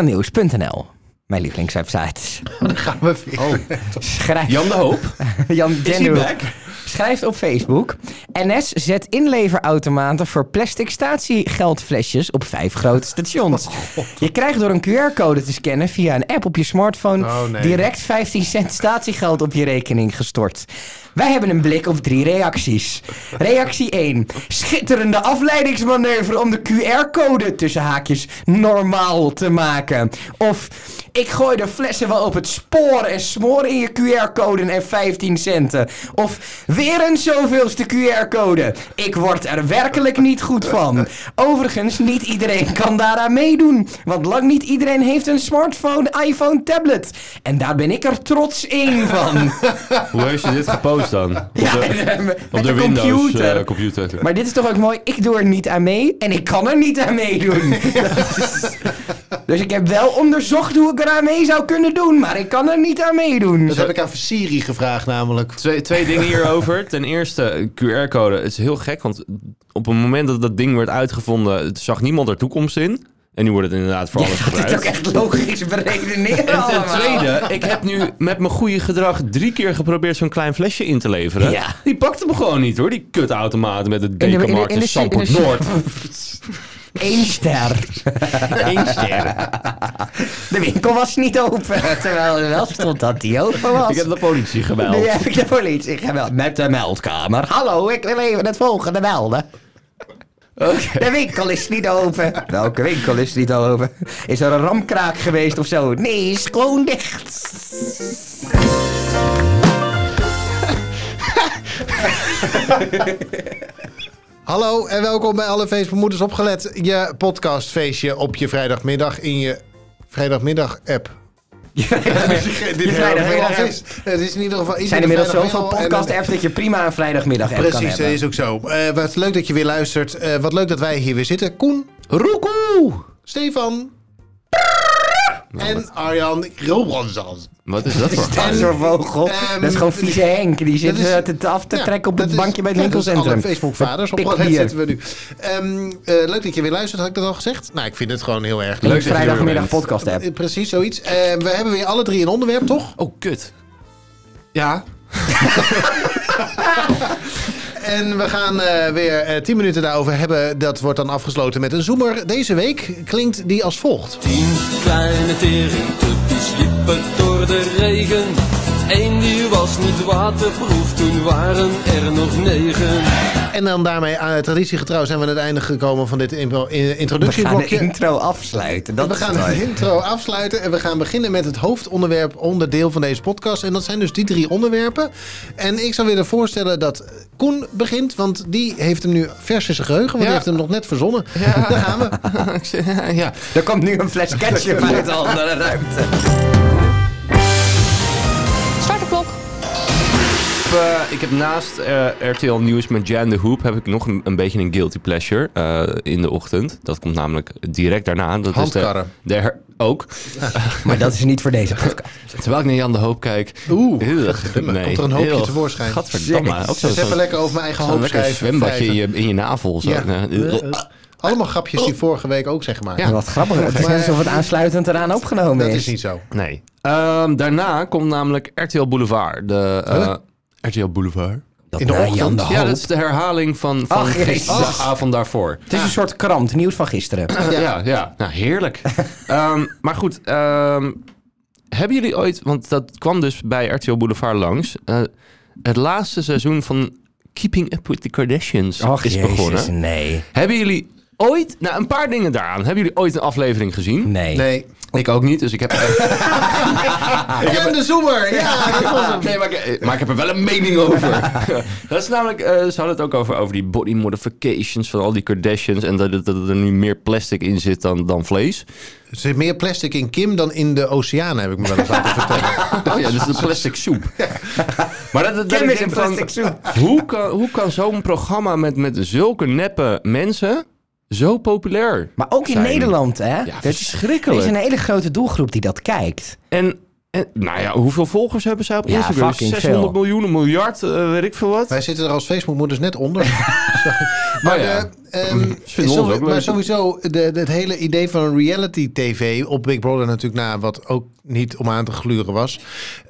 RTLnieuws.nl, mijn lievelingswebsite. Dan gaan we weer. Schrijf, Jan de Hoop. Jan Is hij Denhoek back? schrijft op Facebook... NS zet inleverautomaten voor plastic statiegeldflesjes op vijf grote stations. je krijgt door een QR-code te scannen via een app op je smartphone... Oh, nee. direct 15 cent statiegeld op je rekening gestort. Wij hebben een blik op drie reacties. Reactie 1. Schitterende afleidingsmanoeuvre om de QR-code tussen haakjes normaal te maken. Of ik gooi de flessen wel op het spoor en smoor in je QR-code en 15 centen. Of weer een zoveelste QR-code. Ik word er werkelijk niet goed van. Overigens, niet iedereen kan daaraan meedoen. Want lang niet iedereen heeft een smartphone, iPhone, tablet. En daar ben ik er trots één van. Hoe heeft je dit gepost dan? Op de, met op de, de Windows eh, computer. computer. computer. Maar dit is toch ook mooi, ik doe er niet aan mee en ik kan er niet aan meedoen. Dat is- dus ik heb wel onderzocht hoe ik eraan mee zou kunnen doen, maar ik kan er niet aan meedoen. Dat heb ik aan Siri gevraagd namelijk. Twee, twee dingen hierover. Ten eerste, QR-code. Het is heel gek, want op het moment dat dat ding werd uitgevonden, zag niemand er toekomst in. En nu wordt het inderdaad voor Dat alles is ook gebruikt. echt logisch beredeneren En ten allemaal. tweede, ik heb nu met mijn goede gedrag drie keer geprobeerd zo'n klein flesje in te leveren. Ja. Die pakte me gewoon niet hoor, die kutautomaat met het de- in de- dekenmarkt in in, de- Zandvoort in de- Noord. Eén ster. Eén ster. De winkel was niet open, terwijl er wel stond dat die open was. Ik heb de politie gebeld. Nu heb ik de politie gebeld met de meldkamer. Hallo, ik wil even het volgende melden. De winkel is niet open. Welke winkel is niet open? Is er een ramkraak geweest of zo? Nee, is gewoon dicht. Hallo en welkom bij alle feestbemoeders opgelet. Je podcastfeestje op je vrijdagmiddag in je vrijdagmiddag-app. Je vrijdagmiddag Het is, het is in ieder geval... Er zijn inmiddels zoveel podcast-apps dat je prima een vrijdagmiddag app kan Precies, dat hebben. is ook zo. Eh, wat leuk dat je weer luistert. Eh, wat leuk dat wij hier weer zitten. Koen, Roekoe! Stefan Nou, en Arjan Robanzans. Wat is dat voor Dat is zo'n vogel. Ehm, dat is gewoon vieze Henk. Die zit is- eh, te, te af te Ja, trekken op dat het is- bankje bij het ja, dat is winkelcentrum. alle Facebook-vaders. Op Met wat net pikbier. zitten we nu. Ehm, eh, leuk dat je weer luistert, had ik dat al gezegd? Nou, ik vind het gewoon heel erg leuk. Leuk dat je er weer vrijdagmiddag bent. podcast-app. Eh, Precies, zoiets. Eh, we hebben weer alle drie een onderwerp, toch? Oh, kut. Ja. En we gaan eh, weer eh, 10 minuten daarover hebben. Dat wordt dan afgesloten met een zoemer. Deze week klinkt die als volgt. Tien kleine teringtuppies liepen door de regen. Eén die was niet waterproef, toen waren er nog negen. En dan daarmee aan traditiegetrouw zijn we aan het einde gekomen van dit in- in- We gaan de introductieblokje. intro afsluiten. Dat we is gaan mooi. de intro afsluiten en we gaan beginnen met het hoofdonderwerp onderdeel van deze podcast. En dat zijn dus die drie onderwerpen. En ik zou willen voorstellen dat Koen begint, want die heeft hem nu vers in zijn geheugen, want Ja. die heeft hem nog net verzonnen. Ja. Daar gaan we. Ik zeg, ja. Er komt nu een fles ketchup uit de andere ruimte. Start de klok. Ik heb, eh, ik heb naast eh, RTL Nieuws met Jan de Hoop heb ik nog een, een beetje een guilty pleasure eh, in de ochtend. Dat komt namelijk direct daarna. Dat Handkarren. Is de, de her- ook. Maar dat is niet voor deze podcast. Terwijl ik naar Jan de Hoop kijk. Oeh, Ugh, nee, komt er een hoopje heel- tevoorschijn. Gadverdamme. Ook zo, Dus even zo'n lekker over mijn eigen zo'n hoop lekker schrijven. zwembadje in je, in je navel. Zo. Ja. Eh, eh, Allemaal grapjes die vorige week ook, zeg maar. Ja. Wat grappig. Het is net alsof het aansluitend eraan opgenomen Dat is. is niet zo. Nee. Ehm, daarna komt namelijk RTL Boulevard. De, eh, RTL Boulevard? Dat In de nou, ochtend? Jan de Hoop. Ja, dat is de herhaling van, van Ach, jezus. gisteren, de avond daarvoor. Het is een soort krant, nieuws van gisteren. Ja, ja. Nou, heerlijk. Ehm, maar goed, ehm, hebben jullie ooit, want dat kwam dus bij RTL Boulevard langs, eh, het laatste seizoen van Keeping Up With The Kardashians Ach, is jezus, begonnen. nee. Hebben jullie ooit, nou een paar dingen daaraan, hebben jullie ooit een aflevering gezien? Nee. Nee. Ik ook niet, dus ik heb... Ah. En de zoemer! Ja, dat was hem. Nee, maar, ik, maar ik heb er wel een mening over. dat is namelijk, eh, ze hadden het ook over, over die body modifications van al die Kardashians. En dat, dat, dat er nu meer plastic in zit dan, dan vlees. Er zit meer plastic in Kim dan in de oceanen, heb ik me wel eens laten vertellen. Oh ja, dus de plastic soep. Maar dat, dat, dat Kim ik is denk een van, plastic soep. Hoe kan, hoe kan zo'n programma met, met zulke neppe mensen zo populair Maar ook in zijn? Nederland, hè? Ja, Er is- er is verschrikkelijk. een hele grote doelgroep die dat kijkt. En En, nou ja, hoeveel volgers hebben zij op Ja, Instagram? fucking 600 veel. miljoen, een miljard, eh, weet ik veel wat. Wij zitten er als Facebookmoeders net onder. Sorry. maar Oh ja. eh, ehm, vinden zo- ons ook leuk. maar sowieso, de, de- het hele idee van reality tv op Big Brother natuurlijk na, wat ook niet om aan te gluren was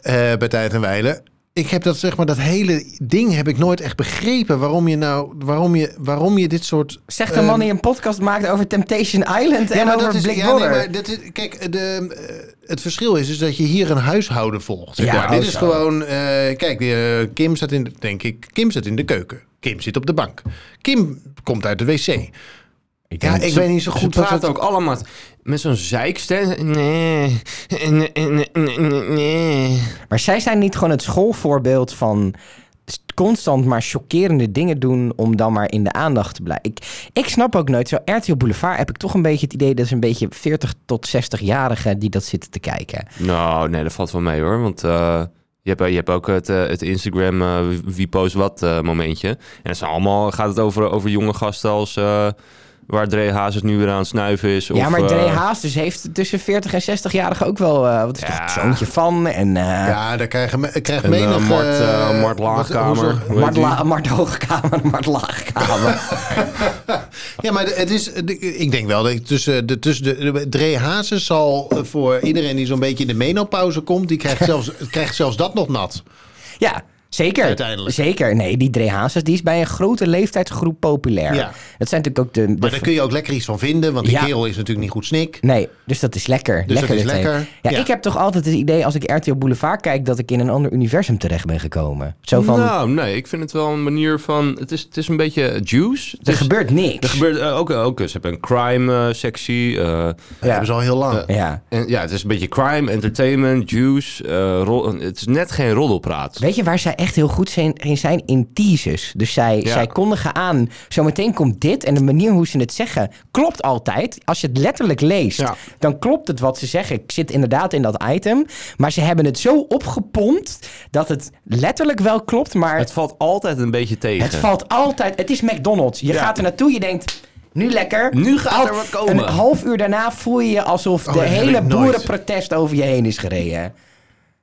eh, bij Tijd en Weilen. Ik heb dat, zeg maar, dat hele ding heb ik nooit echt begrepen. Waarom je nou, waarom je, waarom je dit soort... Zegt een man die een podcast maakt over Temptation Island en maar over dat is, Blik ja, nee, maar dat is, kijk, de, eh, het verschil is, is dat je hier een huishouden volgt. zeg Ja, maar. Dit is zo. gewoon, eh, kijk, eh, Kim staat in, de- denk ik, Kim staat in de keuken. Kim zit op de bank. Kim komt uit de wc. Ja, ik Ze- weet niet zo goed Ze wat praten dat- ook allemaal met zo'n zeikstem. Nee, nee, nee, nee, nee. Maar zij zijn niet gewoon het schoolvoorbeeld van s- constant maar chockerende dingen doen om dan maar in de aandacht te blijven. Ik, ik snap ook nooit, zo RTL Boulevard heb ik toch een beetje het idee dat is een beetje 40 tot 60-jarigen die dat zitten te kijken. Nou, nee, dat valt wel mee hoor. Want eh, je, hebt, je hebt ook het, eh, het Instagram eh, wie- wie post wat eh, momentje. En het zijn allemaal, gaat het over, over jonge gasten als eh, waar Dre Hazes nu weer aan het snuiven is. ja, of, maar Dre eh, Haas dus heeft tussen 40 en 60-jarigen ook wel, eh wat is toch Ja. het zoontje van en... eh, Ja, daar krijgen me, krijgt En, eh, menig... Mart, eh, eh, Mart wat- Laagkamer. hoezo- Hoe heet Mart, die? La- Mart Hoogkamer, Mart Laagkamer. Ja, maar de- het is, de- ik denk wel dat ik tussen de, tussen de, de Dre Hazes zal eh, voor iedereen die zo'n beetje in de menopauze komt, die krijgt zelfs, krijgt zelfs dat nog nat. ja, zeker. Uiteindelijk. Zeker. Nee, die Dre Hazes die is bij een grote leeftijdsgroep populair. Ja. Dat zijn natuurlijk ook de... de Maar daar kun je ook lekker iets van vinden, want die Ja. kerel is natuurlijk niet goed snik. Nee, dus dat is lekker. Dus dat lekker is meteen. lekker, Ja, ja. ik heb toch altijd het idee als ik RTL Boulevard kijk dat ik in een ander universum terecht ben gekomen. Zo van, Nou, nee, ik vind het wel een manier van. Het is, het is een beetje juice. Het er dus- is- gebeurt niks. er gebeurt eh, ook, ook. Ze hebben een crime eh, sectie. eh, Dat hebben ze al heel lang. ja. en, ja, het is een beetje crime, entertainment, juice. eh, ro- het is net geen roddelpraat. Weet je waar zij echt heel goed zijn- in zijn? In teasers. Dus zij, Ja. zij kondigen aan, zometeen komt dit en de manier hoe ze het zeggen klopt altijd. Als je het letterlijk leest, Ja. dan klopt het wat ze zeggen. Ik zit inderdaad in dat item, maar ze hebben het zo opgepompt dat het letterlijk wel klopt, maar Het valt altijd een beetje tegen. Het valt altijd. Het is McDonald's. Je Ja. gaat er naartoe, je denkt. Nu lekker. Nu gaat Al- er wat komen. Oh, Een half uur daarna voel je je alsof de dat heb hele ik nooit. boerenprotest over je heen is gereden.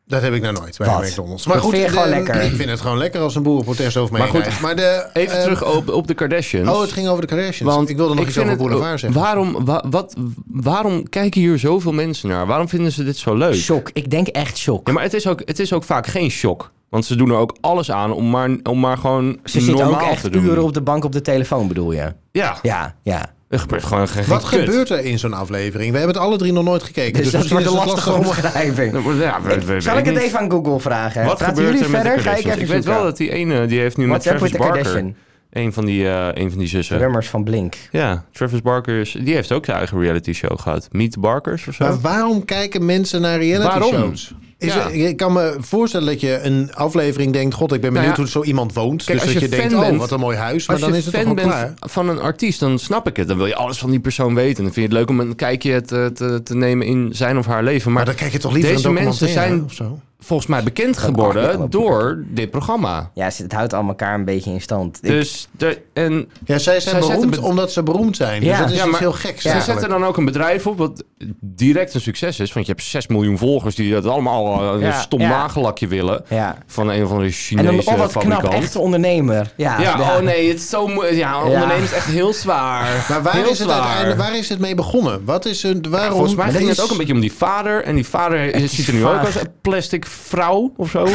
Dat heb ik nou nooit bij Wat? McDonald's. Dat vind je de- gewoon lekker. ik vind het gewoon lekker als een boerenprotest over mij Maar goed, Maar de, Even Ehm, eh, terug op, op de Kardashians. Oh, het ging over de Kardashians. Want ik wilde nog iets vind over het- Oh, Boulevard zeggen. Waarom, wa- wat, waarom kijken hier zoveel mensen naar? Waarom vinden ze dit zo leuk? Shock. Ik denk echt shock. Ja, maar het is, ook, het is ook vaak geen shock. Want ze doen er ook alles aan om maar, om maar gewoon Ze zitten normaal ook echt te doen. uren op de bank op de telefoon, bedoel je? Ja, Ja, ja. er gebeurt gewoon geen Wat geen kut. gebeurt er in zo'n aflevering? We hebben het alle drie nog nooit gekeken. Dus, dat misschien wordt een is het lastige lastig om- omschrijving. Ja, we- we- weet Zal ik het niet. even aan Google vragen? Wat Praten gebeurt jullie er met de verder? Ga ik Kardashians? even Ik weet wel dat die ene, die heeft nu met WhatsApp Travis with the Barker... Kardashian. Een van die, eh, een van die zussen. Drummers van Blink. Ja, Travis Barker is, die heeft ook zijn eigen reality show gehad. Meet Barkers of zo. Maar waarom kijken mensen naar reality Waarom? shows? Is Ja. er- ik kan me voorstellen dat je een aflevering denkt... God, ik ben Nou benieuwd ja. hoe zo iemand woont. Kijk, dus als dat je, je fan denkt, oh, bent- wat een mooi huis. Maar Als dan je is het toch fan al bent klaar? van een artiest, dan snap ik het. Dan wil je alles van die persoon weten. Dan vind je het leuk om een kijkje te, te, te nemen in zijn of haar leven. Maar, Maar dan kijk je toch liever deze een mensen documentaire zijn of zo? volgens mij bekend Ah, ja, geworden maar- door dit programma. Ja, ze- het houdt allemaal elkaar een beetje in stand. Ik- Dus de, en Ja, zij zijn Zij zetten beroemd be- omdat ze beroemd zijn. Dus Ja. dat is Ja, iets maar- heel geks. ze eigenlijk. zetten dan ook een bedrijf op wat direct een succes is. Want je hebt 6 miljoen volgers die dat allemaal eh, een Ja, stom ja. nagellakje willen. ja. Van een of andere En Chinese dan, oh wat fabrikant. knap, echte ondernemer. Ja, ja, oh nee, het is zo moe- Ja, ondernemen is echt heel zwaar. Maar waar heel is, het zwaar. uiteindelijk- waar is het mee begonnen? Wat is een, waarom? Volgens mij Maar ging dit het ook is- een beetje om die vader. En die vader is, ziet er nu vaag. ook als een plastic vrouw of zo. Die,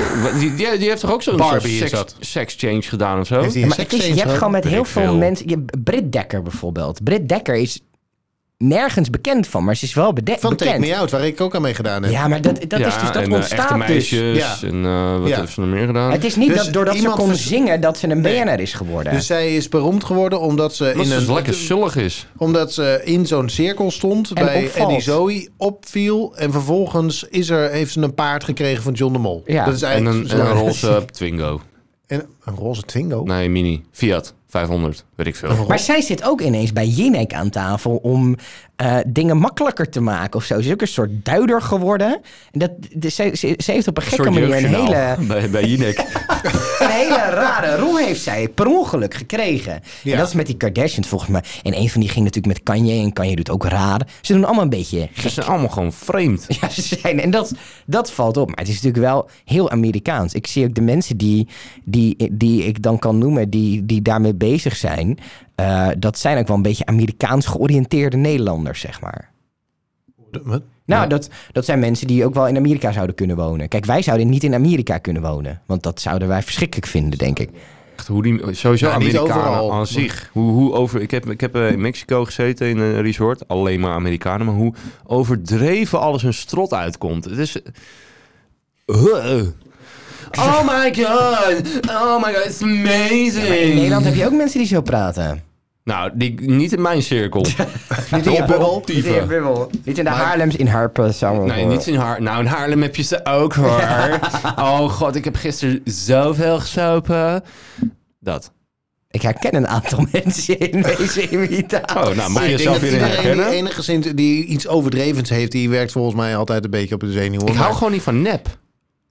die, die heeft toch ook zo'n soort Barbie is seks, dat. sekschange gedaan of zo? Heeft hij Ja, een maar het is, sekschange je hebt gehad? gewoon met Weet heel ik veel veel. mensen... Je, Britt Dekker bijvoorbeeld. Britt Dekker is nergens bekend van, maar ze is wel bede- Van Take bekend. Me Out, waar ik ook aan mee gedaan heb. Ja, maar dat, dat Ja, is dus, dat en, eh, echte ontstaat dus. meisjes. Ja. En eh, wat Ja. heeft ze nog meer gedaan? Het is niet Dus dat doordat ze iemand kon vers- zingen dat ze een Nee. BNR is geworden. Dus zij is beroemd geworden omdat ze, Omdat in, ze dus een, lekker zullig is. omdat ze in zo'n cirkel stond En bij opvalt. Eddie Zoe, opviel. En vervolgens is er, heeft ze een paard gekregen van John de Mol. Ja. Dat is En eigenlijk een, en een roze Twingo. en een roze Twingo. Nee, mini. Fiat 500. Weet weet ik veel. Maar zij zit ook ineens bij Jinek aan tafel om eh, dingen makkelijker te maken of zo. Ze is ook een soort duider geworden. En dat, de, ze, ze, ze heeft op een gekke Een soort manier een hele, jeugdjournaal bij, bij Jinek. een hele rare rol heeft zij per ongeluk gekregen. Ja. En dat is met die Kardashians volgens mij. En een van die ging natuurlijk met Kanye en Kanye doet ook raar. Ze doen allemaal een beetje Ze zijn allemaal gewoon vreemd. Ja, ze zijn. En dat, dat valt op. Maar het is natuurlijk wel heel Amerikaans. Ik zie ook de mensen die, die, die ik dan kan noemen, die, die daarmee bezig zijn. eh, dat zijn ook wel een beetje Amerikaans georiënteerde Nederlanders, zeg maar. Wat? Nou, dat, dat zijn mensen die ook wel in Amerika zouden kunnen wonen. Kijk, wij zouden niet in Amerika kunnen wonen. Want dat zouden wij verschrikkelijk vinden, denk ik. Echt hoe die, sowieso Nou, niet Amerikanen overal. aan zich. Hoe, hoe over, ik heb, ik heb eh, in Mexico gezeten in een resort. Alleen maar Amerikanen. Maar hoe overdreven alles hun strot uitkomt. Het is... Huh. Oh my god. Oh my god. It's Maar in amazing. Nederland heb je ook mensen die zo praten. nou, die, niet in mijn cirkel. Niet in je bubbel? Niet in, Bubbel. Niet in de Haarlems, in Harpen. samen. Nee, niet in Haarlem. Nou, in Haarlem heb je ze ook hoor. Oh god, ik heb gisteren zoveel gesopen. Dat. Ik herken een aantal mensen in deze imitatie. Oh, nou, mag je Ah, Ik denk jezelf dat weer in iedereen die herkennen? enigszins die iets overdrevens heeft, die werkt volgens mij altijd een beetje op de zenuwen. Ik Maar- hou gewoon niet van nep.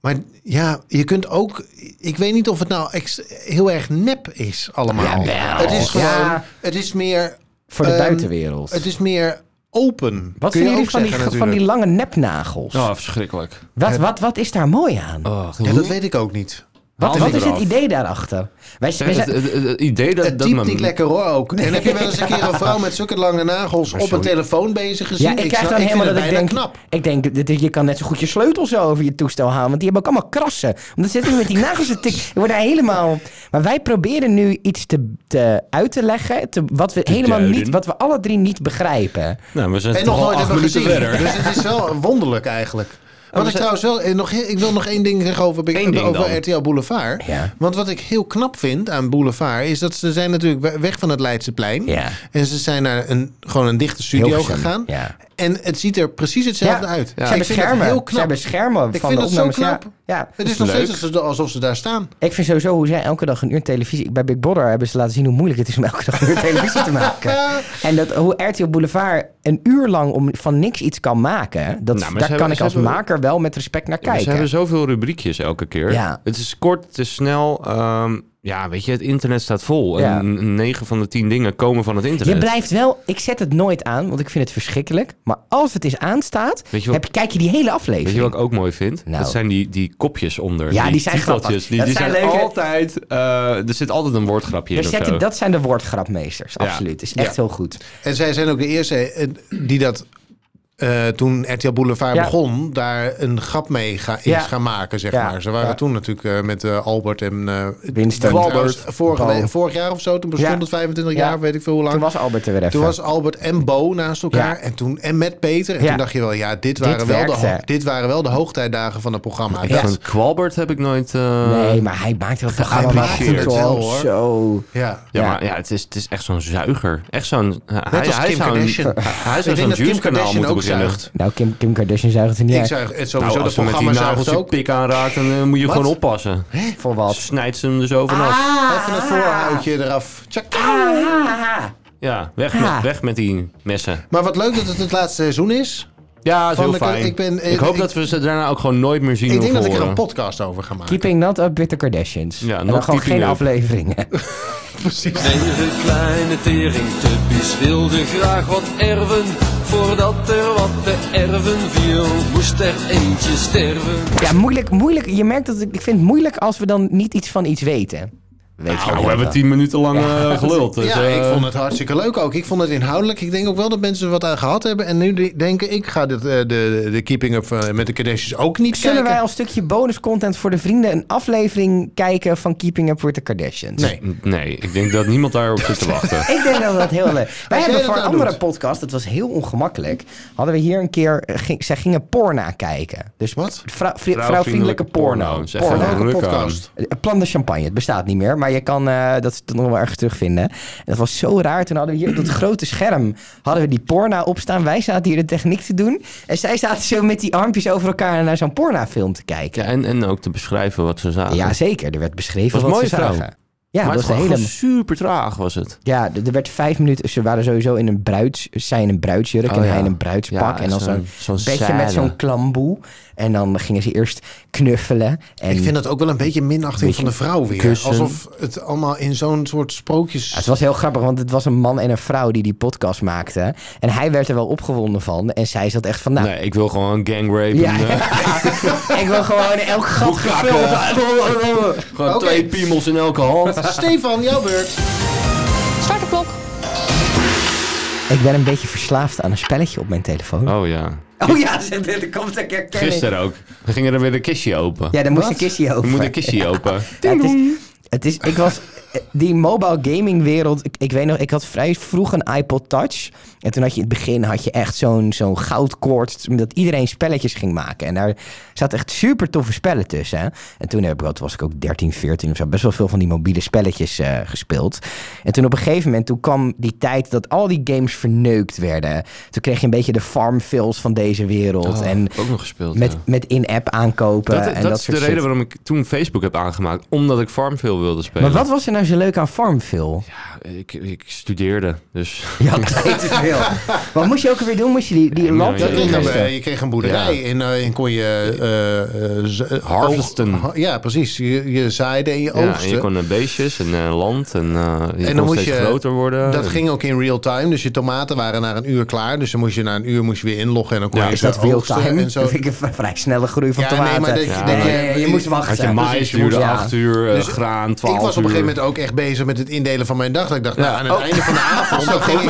Maar ja, je kunt ook. Ik weet niet of het nou ex- heel erg nep is allemaal. Jawel. het is gewoon. Ja. Het is meer. Voor de ehm, buitenwereld. Het is meer open. Wat kun vinden je jullie ook van die, zeggen, van die natuurlijk. lange nepnagels? Oh, verschrikkelijk. Wat, wat, wat is daar mooi aan? Oh, Ja, dat weet ik ook niet. wat haal wat die is het eraf. idee daarachter? Wij, wij dus Het, zijn- het- het- het idee dat, Het dat typt mijn- niet lekker hoor ook. En heb je wel eens een keer een vrouw met zulke lange nagels op een sorry. telefoon bezig gezien? ja, ik, krijg snap- dan helemaal vind dat ik het denk... bijna knap. Ik denk, dit- dit- je kan net zo goed je sleutel zo over je toestel halen. Want die hebben ook allemaal krassen. Want dan zitten we met die nagels te tikken. Ik word daar helemaal... Maar wij proberen nu iets te, te uit te leggen... Te, wat, we helemaal duiden. niet, wat we alle drie niet begrijpen. Nou, we zijn En toch nog al nooit acht hebben minuten gezien. verder. Dus het is wel wonderlijk eigenlijk. Wat ik trouwens wel, eh, nog, heel- ik wil nog één ding zeggen over, Big- Eén ding over dan. RTL Boulevard. Ja. Want wat ik heel knap vind aan Boulevard is dat ze zijn natuurlijk we- weg van het Leidseplein. Ja. En ze zijn naar een, gewoon een dichte studio Hilversum, gegaan. ja. En het ziet er precies hetzelfde Ja. uit. Ze hebben ik vind schermen. het heel Ze knap. hebben schermen Ik van vind de het zo opnames. Ja, knap. ja. Het is nog Leuk. steeds alsof ze- alsof ze daar staan. Ik vind sowieso hoe zij elke dag een uur televisie... Bij Big Brother hebben ze laten zien hoe moeilijk het is om elke dag een uur televisie te maken. En dat hoe RTL Boulevard een uur lang om van niks iets kan maken... Dat, Nou, maar daar kan ze hebben- ik ze als hebben- maker wel met respect naar Ja, Ze kijken. Dus hebben zoveel rubriekjes elke keer. Ja. Het is kort, het is snel. ehm, ja, weet je, het internet staat vol. Ja. En 9 van de 10 dingen komen van het internet. Je blijft wel... Ik zet het nooit aan, want ik vind het verschrikkelijk. Maar als het eens aanstaat, Weet je wat- heb, kijk je die hele aflevering. Weet je wat ik ook mooi vind? Nou. Dat zijn die, die kopjes onder. Ja, die zijn titeltjes. grappig. Die, Dat die zijn zijn, leuke- altijd... eh, er zit altijd een woordgrapje Daar in of zet zo. ik, dat zijn de woordgrapmeesters, Ja. absoluut. is echt Ja. heel goed. En zij zijn ook de eerste eh, die dat eh, toen RTL Boulevard Ja. begon, daar een grap mee ga, is Ja. gaan maken, zeg Ja. maar. Ze waren Ja. toen natuurlijk eh, met eh, Albert en eh Winston. trouwens, Albert. vorige Bo. le- vorig jaar of zo, toen bestond Ja. het 25 Ja. jaar, weet ik veel hoe lang. Toen was Albert er weer even. Toen was Albert en Bo naast elkaar Ja. en, toen, en met Peter. En Ja. toen dacht je wel, ja, dit waren, wel, de, werkte. ho- dit waren wel de hoogtijdagen van het programma. Ik Dat- vond Kwalbert heb ik nooit... eh, Nee, maar hij maakt het programma wel geapprecieerd. goed, hoor. Wel, hoor. Zo... ja. Ja, Ja. maar ja, het is, het is echt zo'n zuiger. Echt zo'n... hij, als hij Kim zou een- Kardashian. Hij Ik denk zou zo'n dat Kim juice-kanaal Kardashian moeten ook beginnen. zuigt. Nou, Kim, Kim Kardashian zuigt er niet Ik uit. zuig het Nou, sowieso, als dat ze met die programma nagels zuigt je ook. pik aanraakt, dan eh, moet je Wat? gewoon oppassen. Voor wat? Snijdt ze hem er zo vanaf. Even het voorhoutje eraf. Tjak. Ja, weg, Ah. Met, weg met die messen. Maar wat leuk dat het het laatste seizoen is. Ja, is Van heel de- fijn. ik ben- ik hoop ik- dat we ze daarna ook gewoon nooit meer zien Ik denk of dat ik er een horen. podcast over ga maken. Keeping not up with the Kardashians. Ja, en not dan gewoon keeping geen up. afleveringen. Negen kleine teringtuppies wilden graag wat erven. Voordat er wat te erven viel, moest er eentje sterven. ja, moeilijk, moeilijk. Je merkt dat ik, ik vind het moeilijk als we dan niet iets van iets weten. Weet je Nou, wel. we hebben tien minuten lang eh, geluld. Dus, ja, eh, ik vond het hartstikke leuk ook. Ik vond het inhoudelijk. Ik denk ook wel dat mensen er wat aan gehad hebben. En nu de- denken, ik ga dit, eh, de, de, de Keeping Up eh, met de Kardashians ook niet Zullen wij kijken. als stukje bonus content voor de vrienden een aflevering kijken van Keeping Up with the Kardashians? Nee. Nee, ik denk dat niemand daarop zit te wachten. Ik denk dat dat heel leuk. Wij jij hebben dat voor een nou andere doet. podcast, dat was heel ongemakkelijk, hadden we hier een keer, eh, ging, zij gingen porna kijken. Dus Wat? vrou- vri- vrouwvriendelijke porno. Zeg gewoon Porno. Welke ruk aan. podcast? Eh, Plan de champagne, het bestaat niet meer, maar je kan eh, dat is nog wel erg terugvinden. En dat was zo raar. Toen hadden we hier op dat grote scherm hadden we die porno opstaan. Wij zaten hier de techniek te doen. En zij zaten zo met die armpjes over elkaar naar zo'n pornofilm te kijken. Ja, en, en ook te beschrijven wat ze zagen. Ja, zeker. Er werd beschreven Was wat een ze mooie vrouw. zagen. Ja, maar dat het was een hele... super traag was het. Ja, d- er werd vijf minuten... Ze waren sowieso in een bruids... Zij in een bruidsjurk Oh, en ja. hij in een bruidspak. en dan zo'n beetje met zo'n klamboe. En dan gingen ze eerst knuffelen. En Ik vind dat ook wel een beetje minachting Beetje van de vrouw weer. kussen. Alsof het allemaal in zo'n soort sprookjes... Ja, het was heel grappig, want het was een man en een vrouw die die podcast maakten. En hij werd er wel opgewonden van. En zij zat echt van, nou, Nee, ik wil gewoon gangrape. Ja. Ja. En, eh, ik wil gewoon in elk gat Boekkakken. gevuld. gewoon Oké. twee piemels in elke hand. Stefan, jouw beurt. Start de klok. ik ben een beetje verslaafd aan een spelletje op mijn telefoon. Oh ja. Oh, ja, ze- er komt een keer kennis. Gisteren ook. Dan gingen er weer een kistje open. Ja, daar moest Wat? een kistje over. Er moet een kistje open. Ja, het, is, het is, ik was, eh, die mobile gaming wereld, ik, ik weet nog, ik had vrij vroeg een iPod Touch. En toen had je in het begin had je echt zo'n zo'n goudkoord, dat iedereen spelletjes ging maken. En daar zaten echt super toffe spellen tussen. Hè? En toen heb ik, wat was ik ook 13, 14 of zo, best wel veel van die mobiele spelletjes eh, gespeeld. En toen op een gegeven moment, toen kwam die tijd dat al die games verneukt werden. Toen kreeg je een beetje de farmvilles van deze wereld. Oh, en ook nog gespeeld. met, ja. met in-app aankopen dat, en dat, dat is de soort reden shit. waarom ik toen Facebook heb aangemaakt. Omdat ik Farmville wilde spelen. Maar wat was er nou zo leuk aan Farmville? Ja, ik, ik studeerde, dus... Je had tijd te veel. Wat moest je ook alweer doen? Moest je die, die Ja, lamp ja, Je ja, erin kreeg, ja, doen? een, ja. eh, je kreeg een boerderij en, eh, en kon je... eh, eh, z- eh, Harvesten. oog- ha- Ja, precies. Je, je zaaide en je Ja, en oogsten. je kon eh, beestjes en eh, land en eh, je dan kon moest steeds je- groter worden. Dat En- ging ook in real time. Dus je tomaten waren na een uur klaar. Dus dan moest je na een uur moest je weer inloggen en dan kon Ja, je Is ze dat real oogsten time? en zo. Dat vind ik een v- vrij snelle groei van Ja, nee, tomaten. maar dat je- ja, dat je- nee, Dus je moest wachten. Had je maïs precies, je duurde moest- ja. acht uur, eh, Dus graan twaalf Ik uur. was op een gegeven moment ook echt bezig met het indelen van mijn dag. Dat ik dacht, nou, Ja. aan het Oh. einde van de avond... dan ging ik,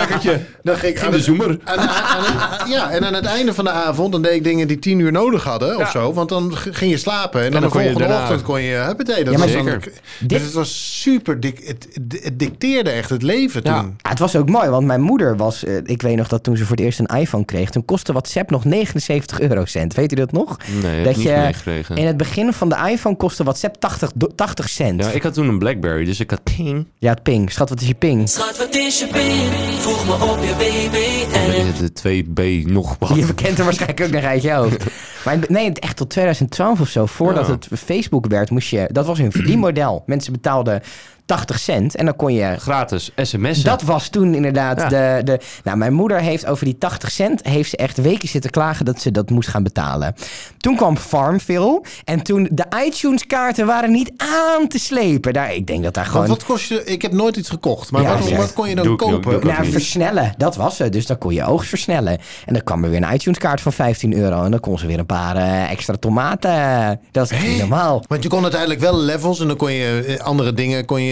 dan ging ik aan de het- zoemer. aan de- aan het- ja, en aan het einde van de avond dan deed ik dingen die tien uur nodig hadden of zo. Want dan g- ging je slapen en, dan, dan de kon je volgende daarna- ochtend kon je... Huppatee, dat Ja, maar was dan- zeker. Dus het was super... Dik, het, het, het dicteerde echt het leven Ja. toen. Ja, het was ook mooi, want mijn moeder was... eh, ik weet nog dat toen ze voor het eerst een iPhone kreeg... toen kostte WhatsApp nog 79 eurocent. Weet u dat nog? Nee, heb dat ik niet meegekregen. In het begin van de iPhone kostte WhatsApp 80, do- 80 cent. Ja, Ja, ik had toen een Blackberry, dus ik had ping. het ping. Schat, wat is je ping? Schat, wat is je pin? Vroeg me op je Eh. BBN. De 2B nog wat. Je kent er waarschijnlijk ook nog uit je hoofd. Maar het- nee, het echt tot 2012 of zo, voordat Ja. het Facebook werd, moest je... Dat was hun verdienmodel. Mensen betaalden 80 cent en dan kon je... Gratis sms'en. Dat was toen inderdaad Ja. de, de... Nou, mijn moeder heeft over die 80 cent... heeft ze echt weken zitten klagen dat ze dat moest gaan betalen. Toen kwam Farmville en toen de iTunes-kaarten waren niet aan te slepen. Daar, ik denk dat daar Want gewoon... wat kost je... Ik heb nooit iets gekocht. Maar Ja, wat, ja. wat kon je dan Doe ik- doe ik- kopen? doe ik ook Nou, niet. versnellen, dat was het. Dus dan kon je oogst versnellen. En dan kwam er weer een iTunes-kaart van 15 euro. En dan kon ze weer een paar eh, extra tomaten. Dat is echt niet normaal. Want je kon uiteindelijk wel levels en dan kon je eh, andere dingen kon je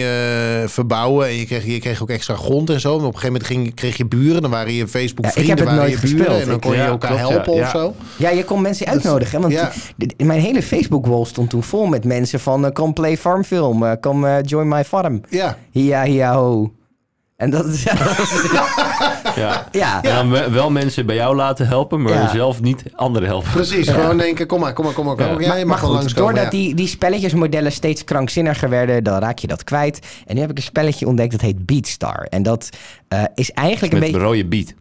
eh, verbouwen. En je kreeg, je kreeg ook extra grond en zo. Maar op een gegeven moment ging, kreeg je buren. Dan waren je Facebook Ja, ik heb vrienden, het waren je nooit buren. gespeeld. En dan Ik- kon je ja, elkaar klopt, ja, helpen ja. of zo. Ja, je kon mensen uitnodigen. hè, Want ja. d- d- mijn hele Facebook-wall stond toen vol met mensen van... eh, come play farm film, eh, come eh, join my farm. Ja. Hia, hia, ho. En dat is... Ja. ja. En dan we- wel mensen bij jou laten helpen, maar Ja. zelf niet anderen helpen. Precies, gewoon denken, kom maar, kom maar, kom maar. Kom. Ja. maar. Ja, je mag Maar wel goed, langskomen. doordat ja. die, die spelletjesmodellen steeds krankzinniger werden, dan raak je dat kwijt. En nu heb ik een spelletje ontdekt dat heet Beatstar. En dat eh, is eigenlijk een Met beetje... rode beat.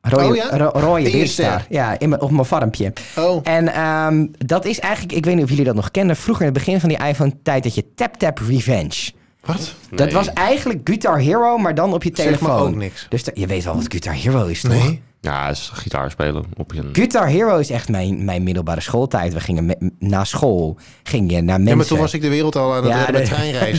Rode, Oh ja? ro- rode In je Beatstar. ster. Ja, in mijn- op mijn farmpje. Oh. En ehm, dat is eigenlijk, ik weet niet of jullie dat nog kennen, vroeger in het begin van die iPhone-tijd dat je Tap Tap Revenge. Wat? Dat Nee. was eigenlijk Guitar Hero, maar dan op je Zeg me telefoon. ook niks. Dus da- je weet wel wat Guitar Hero is, toch? Nee. Ja, is gitaar spelen op je... Guitar Hero is echt mijn, mijn middelbare schooltijd. We gingen me- na school ging je naar mensen. Ja, maar toen was ik de wereld al aan het redden met de- treinreizen.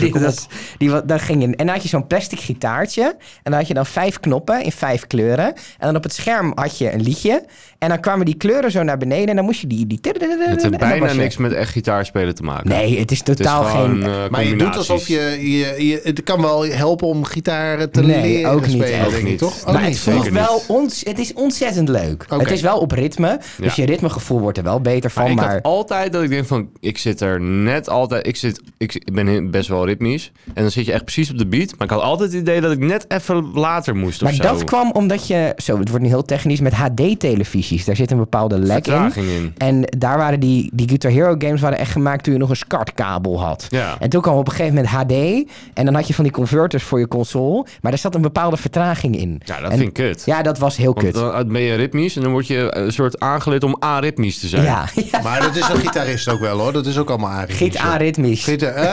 Die, Kom op. dat, die, wa- dan ging je, en dan had je zo'n plastic gitaartje. En dan had je dan vijf knoppen in vijf kleuren. En dan op het scherm had je een liedje. En dan kwamen die kleuren zo naar beneden. En dan moest je die... die Het en heeft dan bijna was je- niks met echt gitaar spelen te maken. Nee, het is het is totaal gewoon, geen... eh, maar je doet alsof je, combinaties. je, je... Het kan wel helpen om gitaar te Nee, leren ook niet spelen, echt. denk ik, Ook toch? niet. Ook maar niet. het, voelt zeker wel niet. ons, het is ontzettend leuk. Oké. Het is wel op ritme. Dus Ja. je ritmegevoel wordt er wel beter van. Maar Maar, ik had altijd dat ik denk van, ik zit er net altijd, ik, zit, ik, ik ben heel- best wel ritmisch. En dan zit je echt precies op de beat. Maar ik had altijd het idee dat ik net even later moest of maar zo. dat kwam omdat je... Zo, het wordt nu heel technisch. Met HD-televisies, daar zit een bepaalde lek in. Vertraging in. En daar waren die, die Guitar Hero games waren echt gemaakt toen je nog een SCART-kabel had. Ja. En toen kwam op een gegeven moment HD. En dan had je van die converters voor je console. Maar daar zat een bepaalde vertraging in. Ja, dat En- vind ik kut. Ja, dat was heel Want kut. dan dan uit- ben je ritmisch en dan word je eh, een soort aangeleerd om aritmisch te zijn. Ja, ja. Maar dat is een gitarist ook wel hoor. Dat is ook allemaal aardig. giet aritmisch. Gita-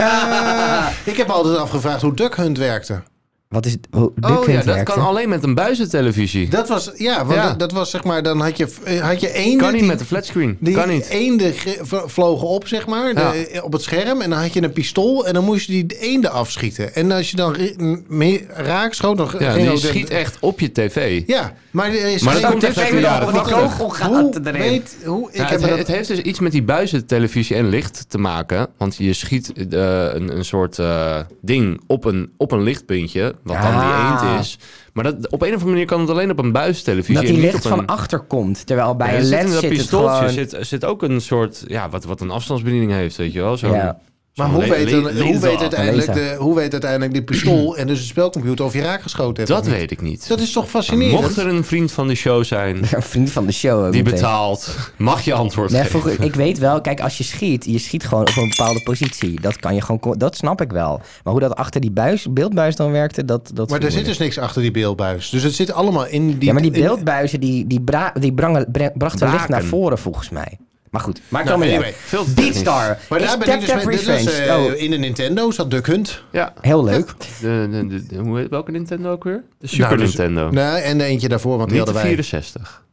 eh, ik heb me altijd afgevraagd hoe Duck Hunt werkte. Wat is het? Oh, Oh ja, dat werkte. kan alleen met een buizentelevisie. Dat was, ja, want Ja. Dat, dat was zeg maar, dan had je, eh, had je eenden kan niet die, met een flatscreen. die kan niet. eenden ge- v- vlogen op zeg maar, de- op het scherm en dan had je een pistool en dan moest je die eenden afschieten. En als je dan ri- m- mee- raak schoot, dan Ja, ging die ook de- schiet echt op je tv. Ja, maar er is Maar dat geen- komt echt uit de jaren Van die 80. kogelgaten hoe erin. weet, hoe, ik Ja, heb het, me het dat, heeft dus iets met die buizentelevisie en licht te maken. Want je schiet eh, een, een soort eh, ding op een, op een lichtpuntje, wat dan die Ah. eend is. Maar dat, op een of andere manier kan het alleen op een buizentelevisie. Dat en die niet licht op een- van achter komt. Terwijl bij Ja, een er zit in lens dat zit het pistooltje gewoon... zit, zit ook een soort, ja, wat, wat een afstandsbediening heeft, weet je wel. Zo'n- Ja. zo'n maar hoe le- weet, le- dan- hoe, laser. weet uiteindelijk Laser. de, hoe weet uiteindelijk die pistool en dus de spelcomputer of je raak geschoten hebt? Dat of niet? weet ik niet. Dat is toch fascinerend? Mocht er een vriend van de show zijn Een vriend van de show. ook die meteen. betaalt, mag je antwoord Nee, geven. vroeger- ik weet wel, kijk, als je schiet, je schiet gewoon op een bepaalde positie. Dat kan je gewoon, ko- dat snap ik wel. Maar hoe dat achter die buis, beeldbuis dan werkte, dat. dat Maar er zit voelde ik. dus niks achter die beeldbuis. Dus het zit allemaal in die... ja, maar die in- beeldbuizen die, die, bra- die brangen, bre- brachten licht Braken. naar voren volgens mij. Maar goed, maakt Nou, allemaal niet anyway, uit. veel te technisch. Beatstar. Maar is daar ben Tap ik dus Tap mee- dit was, Revenge. eh, Oh, in de Nintendo zat Duck Hunt. Ja. heel leuk. De, de, de- de- hoe heet- welke Nintendo ook weer? De Super Nou, dus- Nintendo. Nee, en eentje daarvoor, want die Niet de hadden wij. 64.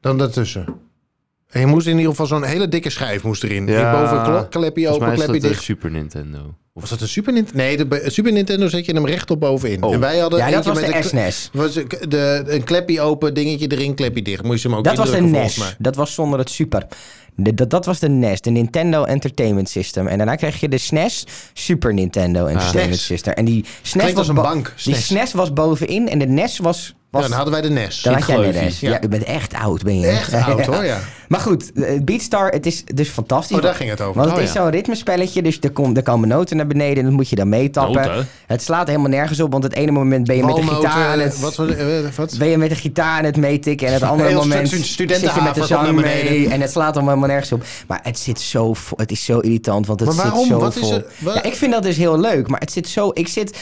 Dan daartussen. En je moest in ieder geval zo'n hele dikke schijf moest erin. Ja. Ja. Boven kla- klappie Volgens open, mij is klappie dat de dicht. Super Nintendo. Of Was dat een Super Nintendo? Nee, de be- Super Nintendo zet je hem rechtop bovenin. Oh. En wij hadden Ja, dat eentje was met de E een kla- SNES. was een, k- de, een klappie open, dingetje erin, klappie dicht. Moest je hem ook Dat was E de indrukken, volgens NES. mij. Dat was zonder het super. De- dat, dat was de NES, de Nintendo Entertainment System. En daarna kreeg je de SNES, Super Nintendo Ah. Entertainment SNES. System. En die SNES E Klinkt was als een bo- bank, Die SNES. SNES was bovenin en de NES was. was Ja, dan hadden wij de NES. dan had jij de Gleufjes, NES. Ja. ja. u bent echt oud, ben je? Echt oud hoor, ja. Maar goed, eh, Beatstar, het is dus fantastisch. Oh, daar ging het over. Want het Oh, is ja. zo'n ritmespelletje, dus er, kom, er komen noten naar beneden en dat moet je dan meetappen. Noten? Het slaat helemaal nergens op, want het ene moment ben je met de Walnoten, gitaar aan het... Wat, voor- eh, Oh, wat? Ben je met de gitaar aan het meetikken en het andere Heel moment stu- stu- zit je met de studentenhaven zang komt naar mee beneden. en het slaat allemaal helemaal nergens op. Maar het zit zo, vo- het is zo irritant, want het Maar waarom? zit zo Wat is vol. er- wa- Ja, ik vind dat dus heel leuk, maar het zit zo, ik zit,